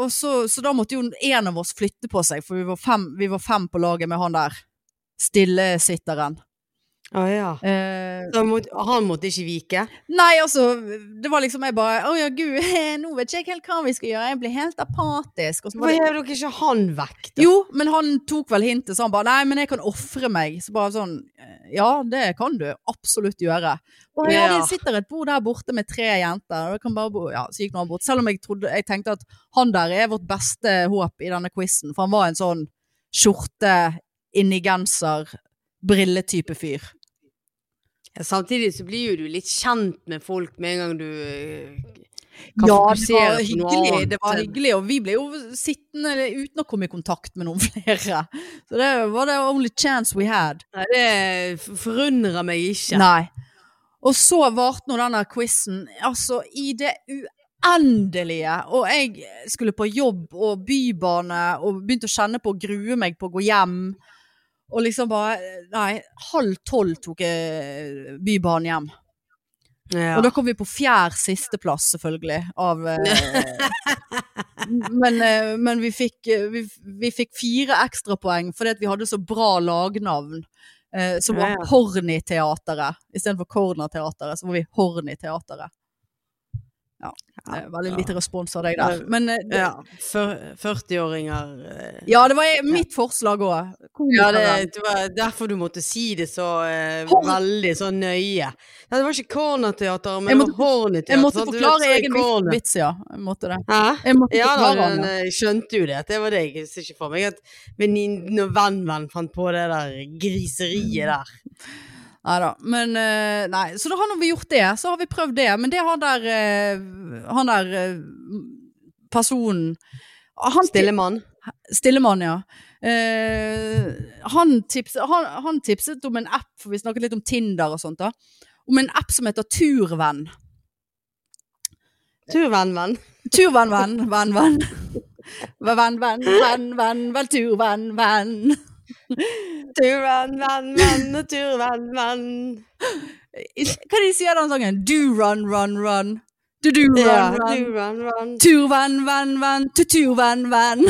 så, så da måtte jo en av oss flytte på seg, for vi var fem, vi var fem på laget med han der stillesitteren.
Å ja.
Eh,
Så han måtte, han måtte ikke vike?
Nei, altså, det var liksom jeg bare Å ja, gud, nå vet ikke jeg helt hva vi skal gjøre. Jeg blir helt apatisk. Og så var
Hvorfor
det,
gjør dere ikke han vekk, da?
jo, men han tok vel hintet, så han bare Nei, men jeg kan ofre meg. Så bare sånn Ja, det kan du absolutt gjøre. Og ja,
Ja.
det sitter et bord der borte med tre jenter, og det kan bare bo Ja, så gikk nå han bort. Selv om jeg trodde Jeg tenkte at han der er vårt beste håp i denne quizen, for han var en sånn skjorte, inni genser, brilletype fyr.
Ja, Samtidig så blir jo du litt kjent med folk med en gang du eh,
ja,
kan
det
fokusere
var
på noe
hyggelig,
annet.
det var hyggelig, og vi ble jo sittende uten å komme i kontakt med noen flere. Så det var the only chance we had.
Nei, det f- forundrer meg ikke.
Nei. Og så varte nå denne quizen altså i det uendelige, og jeg skulle på jobb og bybane og begynte å kjenne på å grue meg på å gå hjem. Og liksom bare Nei, halv tolv tok jeg bybanen hjem.
Ja.
Og da kom vi på fjær siste plass, selvfølgelig, av eh, men, eh, men vi fikk, eh, vi, vi fikk fire ekstrapoeng fordi at vi hadde så bra lagnavn. Eh, som var
Ja, ja.
Hornyteatret. Istedenfor Cornerteatret, så var vi Hornyteatret. Ja. det er Veldig
Ja.
lite respons av deg der. Men eh, det,
ja. fyr- 40-åringer eh.
ja, det var eh, mitt forslag òg.
Ja, det, det var derfor du måtte si det så eh,
Horn-
veldig så nøye. Nei, det var ikke Cornerteatret,
Jeg
men det
måtte-
var Horneteatret.
Jeg måtte
sant? Du
forklare
vet, så er
egen
corner.
vits, ja. Jeg måtte det.
Hæ?
Jeg måtte
Ja da,
forklare
den,
den.
jeg skjønte jo det. at Det var det jeg så ikke for meg. At venninnen og vennen fant på det der
Mm.
griseriet der.
Nei da. Men eh, Nei, så da har nå vi gjort det. Så har vi prøvd det. Men det han der eh, Han der eh, personen han,
Stille mann.
Stillemann, ja. Eh, han, tipset, han, han tipset om en app, for vi snakket litt om Tinder og sånt, da. Om en app som heter Turvenn.
Turvenn-venn.
Turvenn, venn, venn, venn. Venn, venn, venn, venn, venn, vel, turvenn, venn.
Turvenn-venn, venn og turvenn-venn.
Hva de sier i den sangen? Do run, run, run. Do do run,
Ja,
run.
turvenn-venn.
Turvenn, venn, venn, tuturvenn, venn.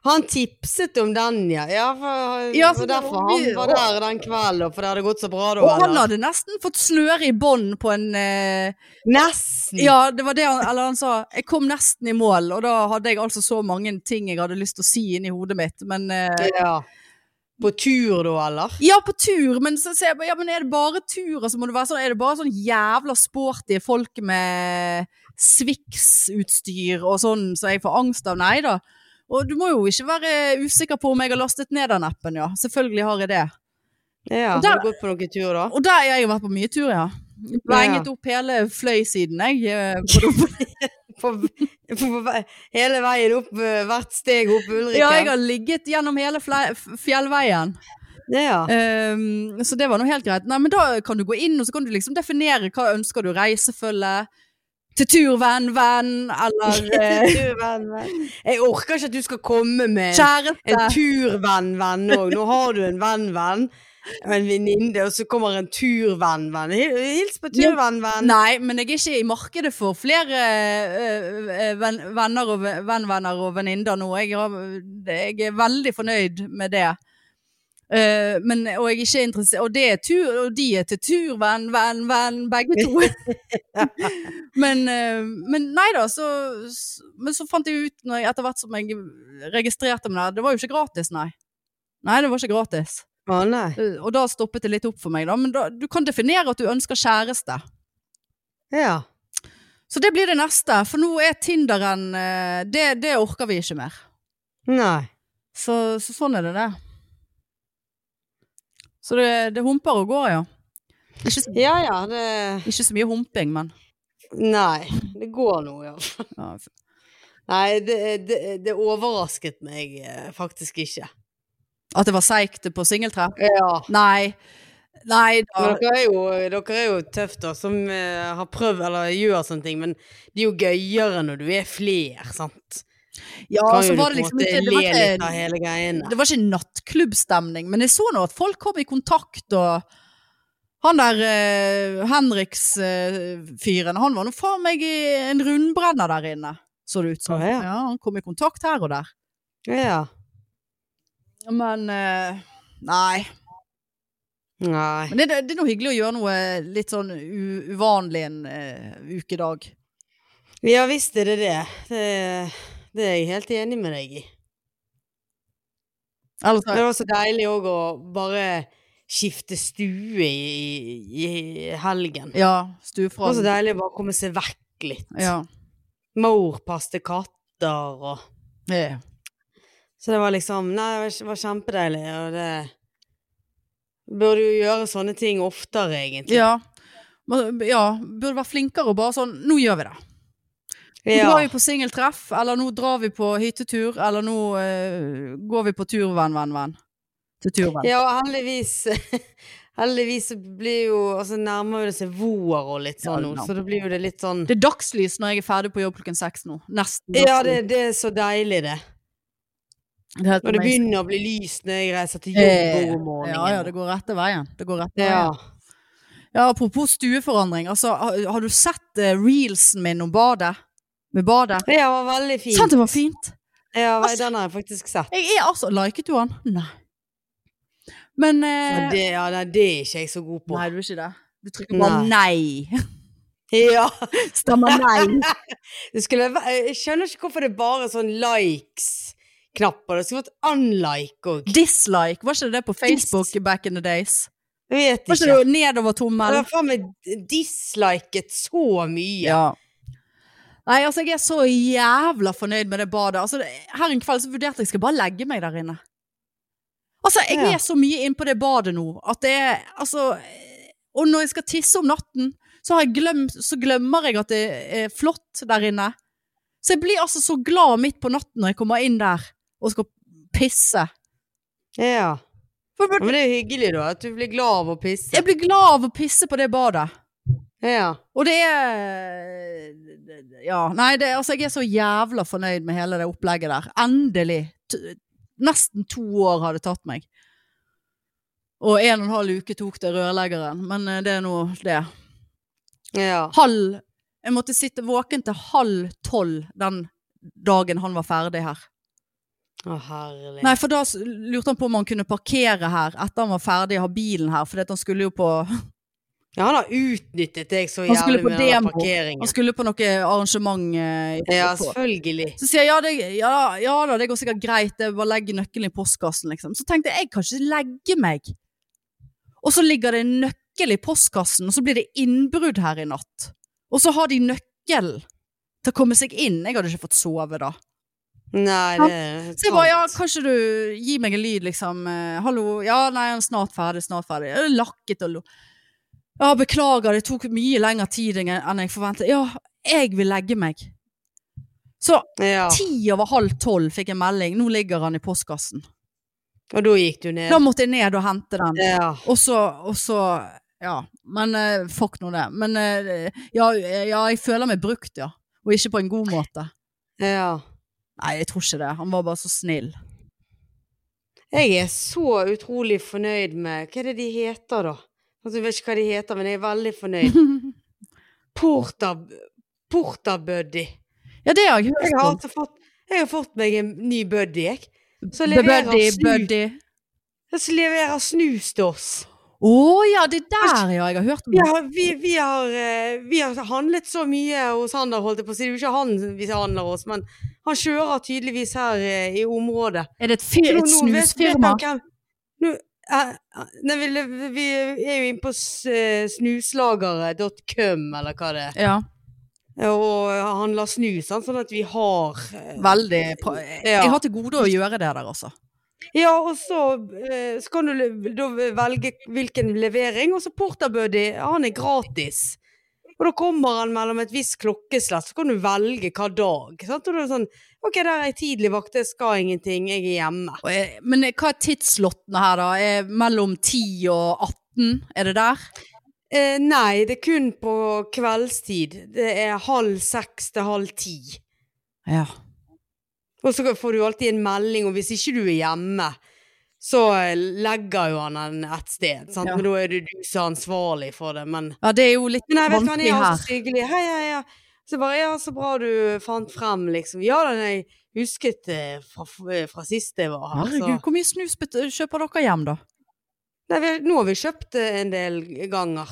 Han tipset om den, ja. Ja, for,
Ja,
for
for-
derfor han var der den kvelden, og for det hadde gått så bra da.
Og han
eller?
hadde nesten fått sløre i bånd på en eh,
Nesten!
Ja, det var det han, eller han sa. Jeg kom nesten i mål, og da hadde jeg altså så mange ting jeg hadde lyst til å si inni hodet mitt. Men eh,
Ja. På tur da, eller?
Ja, på tur, men så ser jeg bare, ja, men er det bare tur? Altså, må det være sånn, er det bare sånn jævla sporty folk med Swix-utstyr og sånn som jeg får angst av? Nei da. Og du må jo ikke være usikker på om jeg har lastet ned den appen, ja. Selvfølgelig har jeg det.
Ja,
Og der-
Har du gått på noen tur da?
Og der har jeg vært på mye tur, ja. Blenget opp hele fløysiden, jeg. eh, på do.
På, på, vei- hele veien opp, eh, hvert steg opp Ulrikke?
Ja, jeg har ligget gjennom hele fle- f- fjellveien.
Ja.
Ehm, så det var nå helt greit. Nei, men da kan du gå inn og så kan du liksom definere hva ønsker du. Reisefølge, til tur, venn, venn, eller eh,
Turvenn, venn. Jeg orker ikke at du skal komme med en- en
kjæreste.
turvenn-venn òg. Nå har du en venn-venn og en venninne, og så kommer en turvenn-venn. Hil- Hils på turvenn-venn.
Nei, men jeg er ikke i markedet for flere eh, eh, venn- venner og ve- venn-venner og venninner nå. Jeg, har, jeg er veldig fornøyd med det. Eh, men, og jeg er ikke interessert Og, det er tur, og de er til tur, venn, venn, venn, begge to. men, eh, men nei da, så, s- men så fant jeg ut når jeg, etter hvert som jeg registrerte meg der, det var jo ikke gratis, nei. Nei, det var ikke gratis.
Å nei.
Eh, Og da stoppet det litt opp for meg, da. Men da, du kan definere at du ønsker kjæreste.
Ja.
Så det blir det neste, for nå er Tinderen eh, Det, det orker vi ikke mer.
Nei.
Så, så sånn er det, det. Så det, det humper og går, ja. Ikke så,
Ja ja, det
ikke så mye humping, men
Nei. Det går nå, ja.
ja.
Nei, det, det, det overrasket meg eh, faktisk ikke.
At det var seigt på singeltreff?
Ja.
Nei. Nei da.
Men dere er jo, dere er jo tøft da, som eh, har prøvd eller gjør sånne ting, men det er jo gøyere når du er fler, sant?
Ja,
Kan
så
jo
var
du
det
på en
liksom
måte
ikke Det var
le litt av
ikke,
hele greiene.
det var ikke nattklubbstemning, men jeg så nå at folk kom i kontakt og han der eh, Henriks-fyren, han var nå faen meg i en rundbrenner der inne, så det ut som.
Å, ja.
ja, han kom i kontakt her og der.
Ja.
Men eh, Nei.
Nei.
Men det, det er noe hyggelig å gjøre noe litt sånn u uvanlig en eh, ukedag.
Ja visst er det det. Det, det er jeg helt enig med deg i.
Eller
Men det
så
var så deilig òg å bare skifte stue i, i helgen.
Ja,
Det var så
stuefra.
deilig å bare komme seg vekk litt.
Ja.
Mor passte katter og
Ja.
Så det var liksom Nei, det var kj- var kjempedeilig, og det Burde jo gjøre sånne ting oftere, egentlig.
ja. Men, ja. Burde være flinkere og bare sånn Nå gjør vi det. Nå
Ja.
drar vi på singeltreff, eller nå drar vi på hyttetur, eller nå eh, går vi på tur, venn, venn, venn. Til turvenn.
Ja, og heldigvis Heldigvis så blir jo Altså nærmer det seg vår og litt sånn
Ja,
nå,
nå.
så da blir jo det litt sånn
Det er dagslys når jeg er ferdig på jobb klokken seks nå. Nesten.
Ja, det, det er så deilig, det.
det er helt
Når det
amazing.
begynner å bli lyst når jeg reiser til jobb om morgenen.
ja, ja, det går rette veien. Det går rette veien.
Ja.
Ja, apropos stueforandring. Altså, har, har du sett eh, reelsen min om badet? Med badet?
Ja, det var veldig
Sant
fint.
det var fint?
Ja,
Altså-
den har jeg faktisk sett.
Jeg er altså Liket du han? Nei. Men eh,
Men det, ja, nei, det er ikke jeg så god på.
Nei, du er ikke det. Du trykker bare nei.
Ja,
Stemmer nei.
det skulle, væ- jeg skjønner ikke hvorfor det er bare sånn likes-knapper. Det skulle vært unlike òg.
Dislike, var ikke det det på Facebook back in the days?
Vet
Var
ikke.
ikke det nedover
Jeg
tommelen?
har faen meg disliket så mye.
Ja. Nei, altså jeg er så jævla fornøyd med det badet. Altså, det- her en kveld så vurderte jeg skal bare legge meg der inne. Altså, jeg
Ja.
er så mye inne på det badet nå at det er Altså eh, Og når jeg skal tisse om natten, så, har jeg glemt, så glemmer jeg at det er flott der inne. Så jeg blir altså så glad midt på natten når jeg kommer inn der og skal pisse.
Ja.
For jeg
Ja, Men det er jo hyggelig, da. At du blir glad av å
blir-
pisse.
jeg blir glad av å pisse på det badet.
Ja.
Og det er Ja, nei, det, altså jeg er så jævla fornøyd med hele det opplegget der. Endelig. T nesten to år har det tatt meg. Og en og en halv uke tok det rørleggeren, men eh, det er nå det.
ja.
Halv Jeg måtte sitte våken til halv tolv den dagen han var ferdig her.
Å, herlig.
Nei, for da s- lurte han på om han kunne parkere her etter han var ferdig å ha bilen her, for han skulle jo på,
Ja, han har utnyttet deg så
Han skulle
jævlig
på
med den der
demo. han
parkeringen.
skulle på noe arrangement. eh, i-
Ja,
på-
selvfølgelig.
Så sier jeg ja, det, ja, ja da, det går sikkert greit, jeg bare legger nøkkelen i postkassen, liksom. Så tenkte jeg, jeg kan ikke legge meg. Og så ligger det en nøkkel i postkassen, og så blir det innbrudd her i natt. Og så har de nøkkel til å komme seg inn. Jeg hadde ikke fått sove da.
Nei, det er
Så jeg bare, ja,
sant.
kan ikke du gi meg en lyd, liksom? eh, Hallo? Ja, nei, han er snart ferdig, snart ferdig. Jeg er lakket og lo. Ja, beklager, det tok mye lengre tid enn jeg- enn jeg forventet. Ja, jeg vil legge meg. Så
Ja.
ti over halv tolv fikk jeg melding, nå ligger han i postkassen.
Og da gikk du ned.
Da måtte jeg ned og hente den.
Ja.
Og så, og så ja. Men eh, fuck nå det. Men eh, ja, ja, jeg føler meg brukt, ja. Og ikke på en god måte.
ja.
Nei, jeg tror ikke det. Han var bare så snill.
Jeg er så utrolig fornøyd med Hva er det de heter, da? Altså, jeg vet ikke hva de heter, men jeg er veldig fornøyd. Porta, Porta Buddy.
ja, det har jeg
Jeg
hørt
har,
om.
altså fått, jeg har fått meg en ny buddy, jeg. Så leverer,
Buddy,
snus,
buddy.
så leverer snus til oss.
Å ja, det der ja, jeg har hørt om.
Vi
det.
har, vi, vi, har, eh, vi har handlet så mye hos han der, holdt jeg på å si. Det er jo ikke han vi handler hos, men han kjører tydeligvis her eh, i området.
Er det et, fir
Så nå-
et
nå vet- vet
snusfirma?
han hvem- nå, eh, Nei, vi, lev- vi er jo inne på s- eh, snuslagere.com, eller hva det er.
Ja,
Og handler snus, sant, sånn at vi har eh,
veldig pra
Ja.
Jeg har til gode å gjøre det der, altså.
Ja, og så, eh, så kan du le- da velge hvilken levering, og så Porter Buddy, han er gratis. Og da kommer han mellom et visst klokkeslett, så kan du velge hva dag. Sant? Og da er det sånn OK, der er jeg tidligvakt, jeg skal ingenting, jeg er hjemme.
Og jeg, men eh, hva er tidslottene her, da? Er mellom 10 og 18? Er det der?
Eh, nei, det er kun på kveldstid. Det er halv seks til halv ti.
Ja.
Og så får du alltid en melding, og hvis ikke du er hjemme, så eh, legger jo han den et sted. Sant?
Ja.
Men da er det du som er ansvarlig for det. Men,
ja, det er jo litt
men jeg vet hva,
vanskelig
han er
her.
altså så hyggelig. Hei, hei, hei. Så bare, ja, så bra du fant frem, liksom. Ja, den jeg husket eh, fra, fra sist jeg var her. Så.
Herregud, hvor mye snus bet- kjøper dere hjem, da?
Nei, vi, nå har vi kjøpt eh, en del ganger.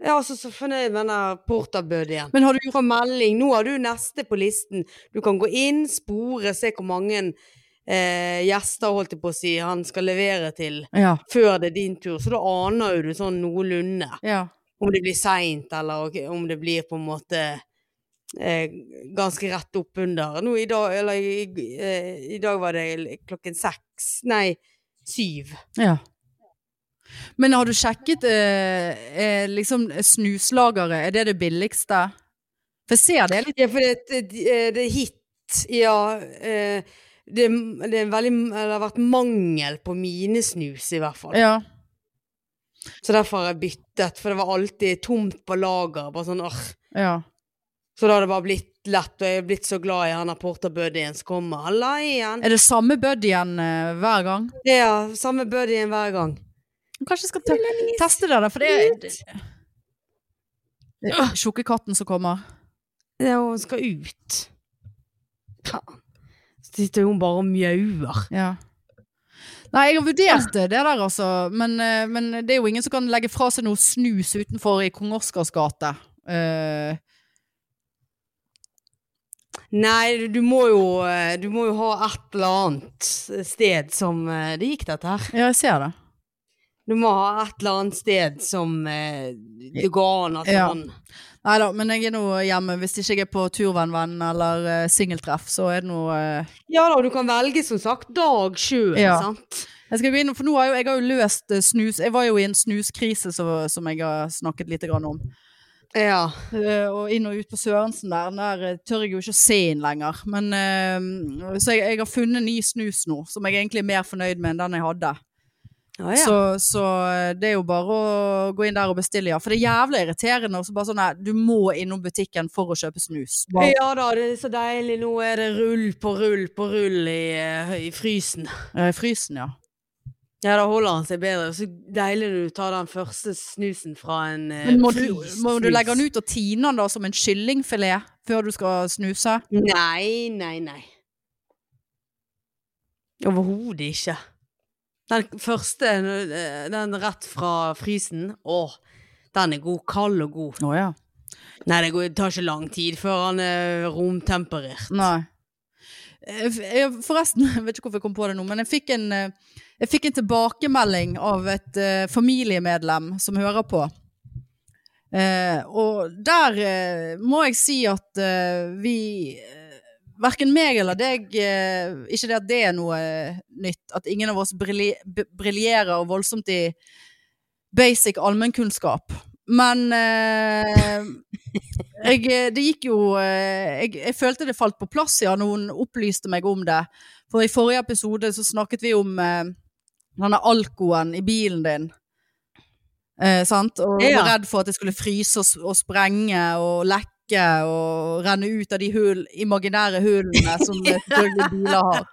Jeg er altså så fornøyd med den der porterbødien.
Men har du gjort
Fra melding. Nå har du neste på listen. Du kan gå inn, spore, se hvor mange eh, gjester holdt jeg på å si, han skal levere til
Ja.
før det er din tur. Så da aner jo du sånn noenlunde
ja.
om det blir seint, eller ok, om det blir på en måte eh, ganske rett oppunder. Nå i dag, eller i, eh, i dag var det klokken seks, nei, syv.
Ja. Men har du sjekket eh, eh, liksom snuslagere? Er det det billigste? For jeg ser det er litt
Ja, for det, det, eh, det er hit Ja, eh, det, det er en veldig eller Det har vært mangel på mine snus, i hvert fall.
Ja.
Så derfor har jeg byttet, for det var alltid tomt på lager. Bare sånn, åh.
ja.
Så da har det bare blitt lett, og jeg er blitt så glad i han der porterbuddyen som kommer. Halla igjen!
Er det samme buddyen eh, hver gang?
Ja, samme buddyen hver gang.
Kanskje jeg skal te teste det, da, for det er det- det er tjukke katten som kommer.
Ja, og hun skal ut. Faen. Så sitter hun bare og mjauer.
Ja. Nei, jeg har vurdert det, det der altså, men, eh, men det er jo ingen som kan legge fra seg noe snus utenfor i Kong Oscars gate. Eh,
Nei, du- du må jo eh, Du må jo ha et eller annet sted som eh, Det gikk dette her.
ja, jeg ser det.
Du må ha et eller annet sted som eh, det går an at
Ja.
han
Nei da, men jeg er nå hjemme. Hvis ikke jeg er på turvennvenn eller eh, singeltreff, så er det nå eh,
Ja da, og du kan velge, som sagt, dag sjø,
Ja.
sant?
Jeg skal gå inn, for nå har jo, jeg har jo løst eh, snus Jeg var jo i en snuskrise som, som jeg har snakket litt grann om.
Ja.
Eh, og inn og ut på Sørensen der, der eh, tør jeg jo ikke å se inn lenger. Men, eh, så jeg, jeg har funnet ny snus nå, som jeg egentlig er mer fornøyd med enn den jeg hadde.
Ja, ja.
Så, så eh, det er jo bare å gå inn der og bestille, ja. For det er jævlig irriterende. Og så bare sånn her, du må innom butikken for å kjøpe snus. Bare,
ja da, det er så deilig. Nå er det rull på rull på rull i, eh, i frysen.
eh, frysen, ja.
Ja, da holder han seg bedre. Så deilig når du tar den første snusen fra en eh,
Men må du,
fryst
må du
snus.
legge den ut og tine den da som en kyllingfilet før du skal snuse?
Nei, nei, nei. Overhodet ikke. Den første, eh, den rett fra frysen, åh, den er god, kald og god.
Å ja.
Nei, det går- tar ikke lang tid før han er romtemperert.
Nei. Eh, f- eh, Forresten, jeg vet ikke hvorfor jeg kom på det nå, men jeg fikk en, eh, jeg fikk en tilbakemelding av et eh, familiemedlem som hører på. Eh, og der eh, må jeg si at eh, vi eh, Verken meg eller deg eh, Ikke det at det er noe eh, nytt, at ingen av oss brilje- b- briljerer voldsomt i basic allmennkunnskap. Men eh, jeg, eh, det gikk jo eh, jeg, jeg følte det falt på plass ja, når hun opplyste meg om det. For i forrige episode så snakket vi om eh, denne alkoen i bilen din. Eh, sant? Og
Ja.
var redd for at det skulle fryse og, s- og sprenge og lekke og renne ut av de hull, imaginære hullene som eh, selvfølgelig biler har.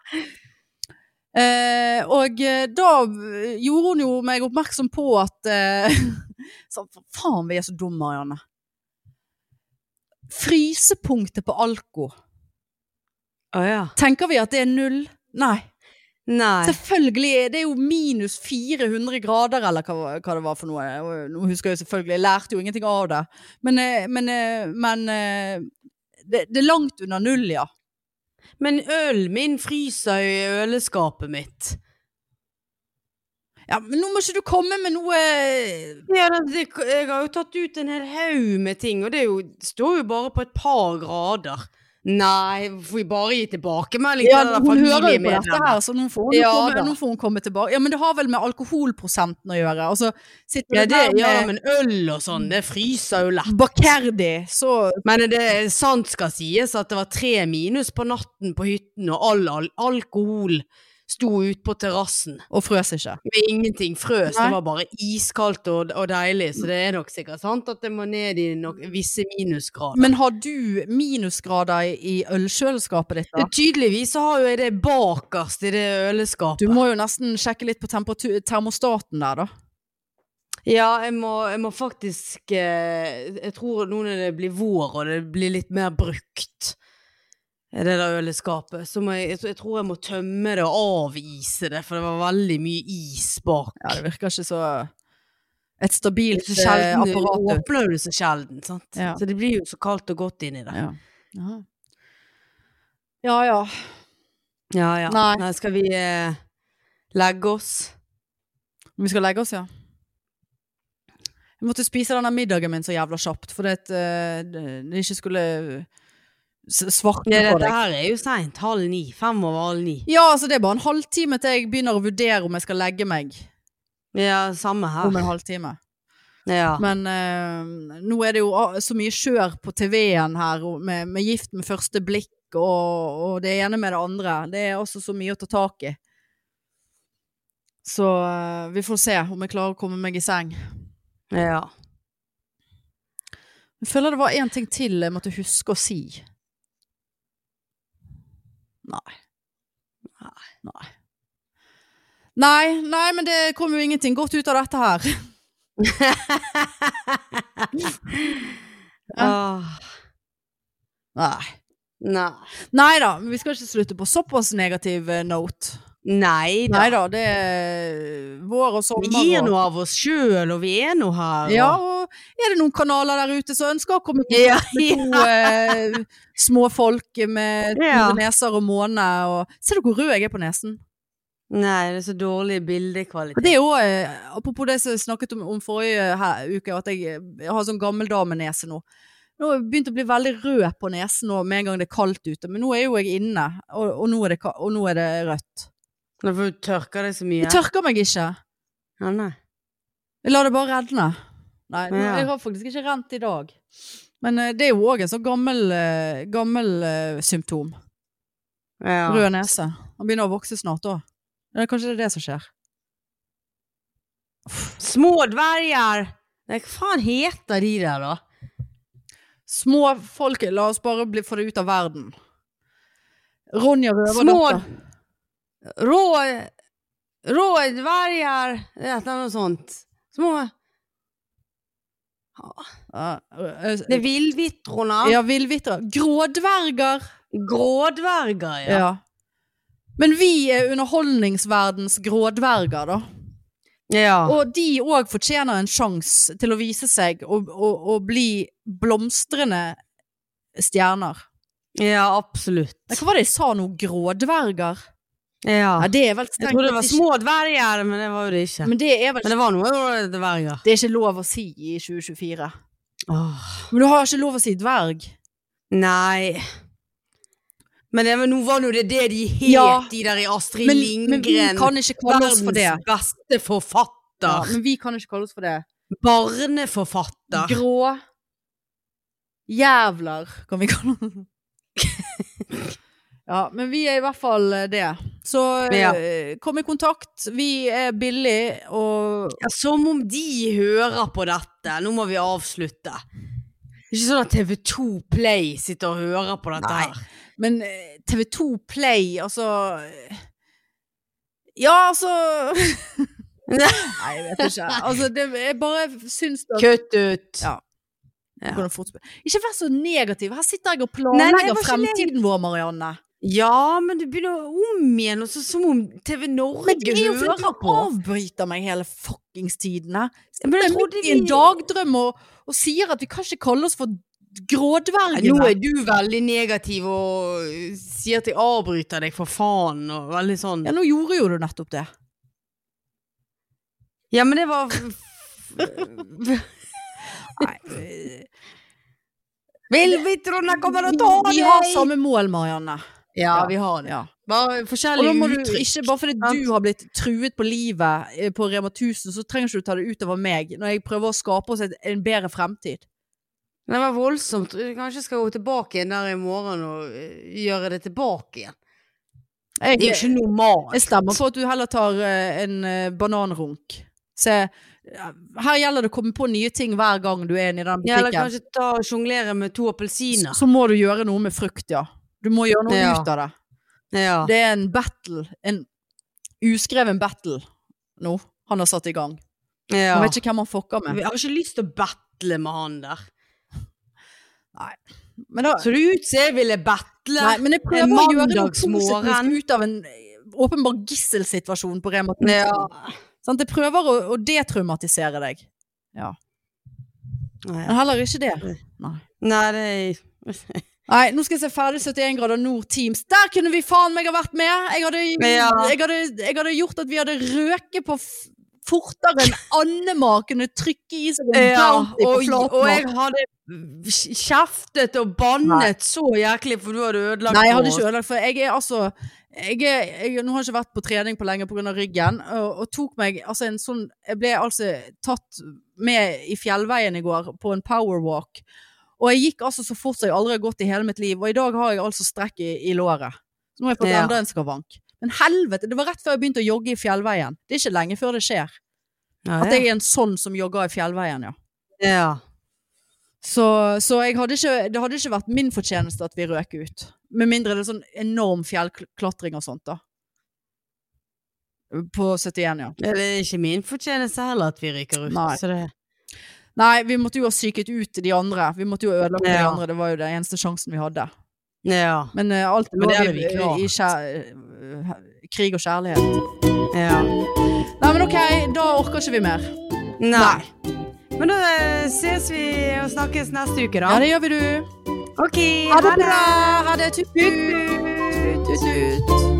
Eh, og eh, da eh, gjorde hun jo meg oppmerksom på at eh, sånn, for Faen, vi er så dumme, Marianne. Frysepunktet på alko.
Å ja.
Tenker vi at det er null? Nei.
Nei.
Selvfølgelig er det jo minus 400 grader, eller hva, hva det var for noe. Og Nå husker jeg jo selvfølgelig, jeg lærte jo ingenting av det. Men, eh, men, eh, men eh, det, det er langt under null, ja.
Men ølen min fryser i øleskapet mitt.
ja. Men nå må ikke du komme med noe eh,
Ja, det, det, jeg har jo tatt ut en hel haug med ting, og det er jo, står jo bare på et par grader. Nei, får vi bare gi tilbakemelding
ja,
til det
Hun hører jo på
familiemedlemmet?
dette her, så nå får hun,
Ja, da.
komme, nå får hun komme tilbake. Ja, men det har vel med alkoholprosenten å gjøre. Altså, sitter
Ja,
du
det,
der med
ja, men øl og sånn, det fryser jo lett.
Bacardi, så
Men det er sant skal sies at det var tre minus på natten på hytten, og all, all alkohol sto ute på terrassen.
Og frøs ikke.
Med ingenting frøs,
Nei.
det var bare iskaldt og, og deilig, så det er nok sikkert sant at det må ned i nok, visse minusgrader.
Men har du minusgrader i- i ølkjøleskapet ditt, da?
Tydeligvis så har jo jeg det bakerst i det øleskapet.
Du må jo nesten sjekke litt på temperatur- termostaten der, da.
Ja, jeg må, jeg må faktisk eh, Jeg tror nå når det blir vår og det blir litt mer brukt, det der øleskapet, så må jeg, jeg tror- jeg tror jeg må tømme det og avise det, for det var veldig mye is bak.
Ja, det virker ikke så Et stabilt
så
eh,
sjelden
apparat. ut.
åpner du så sjelden, sant?
Ja.
Så det blir jo så kaldt og godt inni det.
Ja. Ja. ja ja.
Ja, ja.
Nei.
skal vi eh, legge oss?
Vi skal legge oss, ja. Jeg måtte spise denne middagen min så jævla kjapt, for det, eh, det det ikke skulle s-
Nei,
svartne på
dette
deg.
her er jo seint. Halv ni. Fem over halv ni.
Ja, altså det er bare en halvtime til jeg begynner å vurdere om jeg skal legge meg
Ja, samme
om
her.
en halvtime.
Ja.
Men eh, nå er det jo ah, så mye kjør på TV-en her og med, med gift med første blikk og, og det ene med det andre. Det er også så mye å ta tak i. Så eh, vi får se om jeg klarer å komme meg i seng.
ja.
Jeg føler det var én ting til jeg måtte huske å si. Nei. Nei. Nei. Nei, nei, men det kom jo ingenting godt ut av dette her.
Ah,
Nei.
nei.
Nei da, vi skal ikke slutte på såpass negativ eh, note.
Nei da.
Nei da, det er vår og sommer.
Vi gir
og-
noe av oss sjøl, og vi er nå her. og-
Ja, og er det noen kanaler der ute som ønsker å komme på
Ja,
med to eh, små folk med store
Ja.
neser og måne og Ser du hvor rød jeg er på nesen?
Nei, det er så dårlig
Og
bildekvalitet.
Det er jo, eh, apropos det som jeg snakket om, om forrige her, uke, at jeg, jeg har sånn gammeldamenese nå. Nå har jeg begynt å bli veldig rød på nesen nå, med en gang det er kaldt ute, men nå er jo jeg inne, og, og, nå, er det, ka- og nå er det rødt.
Nå får du tørka deg så mye.
Jeg tørker meg ikke.
Ja, nei.
Jeg lar det bare redne. Nei, nå-
Ja.
jeg har faktisk ikke rent i dag. Men eh, det er jo òg en sånn gammel, eh, gammel eh, symptom.
Ja.
Rød nese. Han begynner å vokse snart òg. Eller kanskje det er det som skjer.
Små dverger! Nei, hva faen heter de der, da?
Små folk La oss bare bli, få det ut av verden. Ronja
Små
Røverdatter.
Rå Rå dverger Det er et eller annet sånt. Små
Ja, eh,
Det er villvitroner.
Ja, villvitre. Grådverger.
Grådverger, ja.
Ja. Men vi er underholdningsverdens grådverger, da.
Ja.
Og de òg fortjener en sjanse til å vise seg og, og, og bli blomstrende stjerner.
ja, absolutt.
Nei, Hva var det jeg sa nå? Grådverger?
Ja.
Nei, det er vel
Jeg
strengt
trodde det var
tatt
små dverger, men det var jo det
ikke-
ikke.
Men det er vel
Men det var noe dverger.
Det er ikke lov å si i 2024.
Åh.
Men du har ikke lov å si dverg.
Nei. Men, det, men nå var nå det det de het,
Ja.
de der i Astrid
Men,
Lindgren.
men vi kan ikke kalle oss for det.
Verdens beste
Ja,
forfatter.
men vi kan ikke kalle oss for det.
Barneforfatter.
Grå jævler, kan vi kalle oss. Ja, men vi er i hvert fall eh, det. Så eh,
Ja.
kom i kontakt. Vi er billig og
Ja, som om de hører på dette. Nå må vi avslutte. Det er ikke sånn at TV2 Play sitter og hører på dette
Nei.
her.
Men eh, TV2 Play, altså eh, Ja, altså Nei, jeg vet ikke. Altså, det, jeg bare syns at
Kutt ut.
Ja.
Ja.
Hvordan fort- Ikke vær så negativ. Her sitter jeg og
Nei, nei, jeg
planlegger
var ikke
fremtiden vår, Marianne.
Ja, men du begynner om igjen, og så som om TV
Men det
Norge
er jo fordi
hører
du
på.
avbryter meg hele fuckings tiden her.
Men
Jeg
jeg
er midt
trodde
i en
vi-
dagdrøm og, og sier at vi kan ikke kalle oss for
Nå
grådvergene.
er du veldig negativ og eh, sier at jeg avbryter deg, for faen, og veldig sånn.
Ja, nå gjorde jo du nettopp det.
Ja, men det var Villbitrene kommer og tar
Vi har samme mål, Marianne.
Ja, vi har det.
Ja.
Bare
Og da
forskjellige
må du
uttrykk.
ikke, bare fordi du har blitt truet på livet eh, på Rema 1000, så trenger ikke du ta det utover meg når jeg prøver å skape oss et, en bedre fremtid.
Det var voldsomt. Kanskje jeg skal gå tilbake igjen der i morgen og eh, gjøre det tilbake igjen. Det er jo ikke normalt.
Jeg stemmer på at du heller tar eh, en eh, bananrunk. Se, ja, her gjelder det å komme på nye ting hver gang du er inne i den
Ja, eller
butikken.
kanskje ta og sjonglere med to appelsiner.
så må du gjøre noe med frukt, ja. Du må gjøre noe
Ja.
ut av det.
Ja.
Det er en battle. En uskreven battle nå. Han har satt i gang.
ja.
Man vet ikke hvem han fucker med.
Jeg har ikke lyst til å battle med han der.
Men, da,
Så det ut som jeg ville battle.
nei, men jeg prøver å gjøre noe
mandagsmorgen.
positivt ut av en eh, åpenbar gisselsituasjon på Rema 1000.
Ja.
Sant? Jeg prøver å, å detraumatisere deg.
Nei,
Men heller ikke det. Nei.
Nei, det er
Nei, nå skal jeg se ferdig 71 grader nord Teams. Der kunne vi faen meg ha vært med! Jeg hadde,
Ja.
jeg hadde, jeg hadde gjort at vi hadde røket på f fortere enn Annemar kunne trykke i seg en
ja,
bounty på
og, og jeg
flatmark.
hadde kjeftet og bannet så jæklig, for du hadde ødelagt
Nei, jeg hadde
for
ikke ødelagt, for jeg er altså jeg er, jeg, Nå har jeg ikke vært på trening på lenge pga. ryggen, og, og tok meg altså en sånn Jeg ble altså tatt med i fjellveien i går på en powerwalk, og jeg gikk altså så fort som jeg aldri har gått i hele mitt liv, og i dag har jeg altså strekk i, i låret. Så nå har jeg fått
Ja.
enda en skavank. Men helvete, det var rett før jeg begynte å jogge i fjellveien. Det er ikke lenge før det skjer.
Ja,
At jeg er en sånn som jogger i fjellveien, ja.
ja.
Så, så jeg hadde ikke, det hadde ikke vært min fortjeneste at vi røk ut. Med mindre det er sånn enorm fjellklatring og sånt, da. På 71, ja.
Det er ikke min fortjeneste heller at vi ryker ut.
Nei.
Så det,
Nei, vi måtte jo ha psyket ut de andre. Vi måtte jo ha ødelagt de
Ja.
andre. Det var jo den eneste sjansen vi hadde.
ja.
Men eh, alt
Men
lå
det hadde
i,
vi klart.
i kjær, eh, krig og kjærlighet.
ja.
Nei, men ok, da orker ikke vi mer.
Nei. Men da eh, ses vi og snakkes neste uke, da.
Ja, det gjør vi, du.
OK.
Ha det bra! Ha det tut-tut! Tut-tut!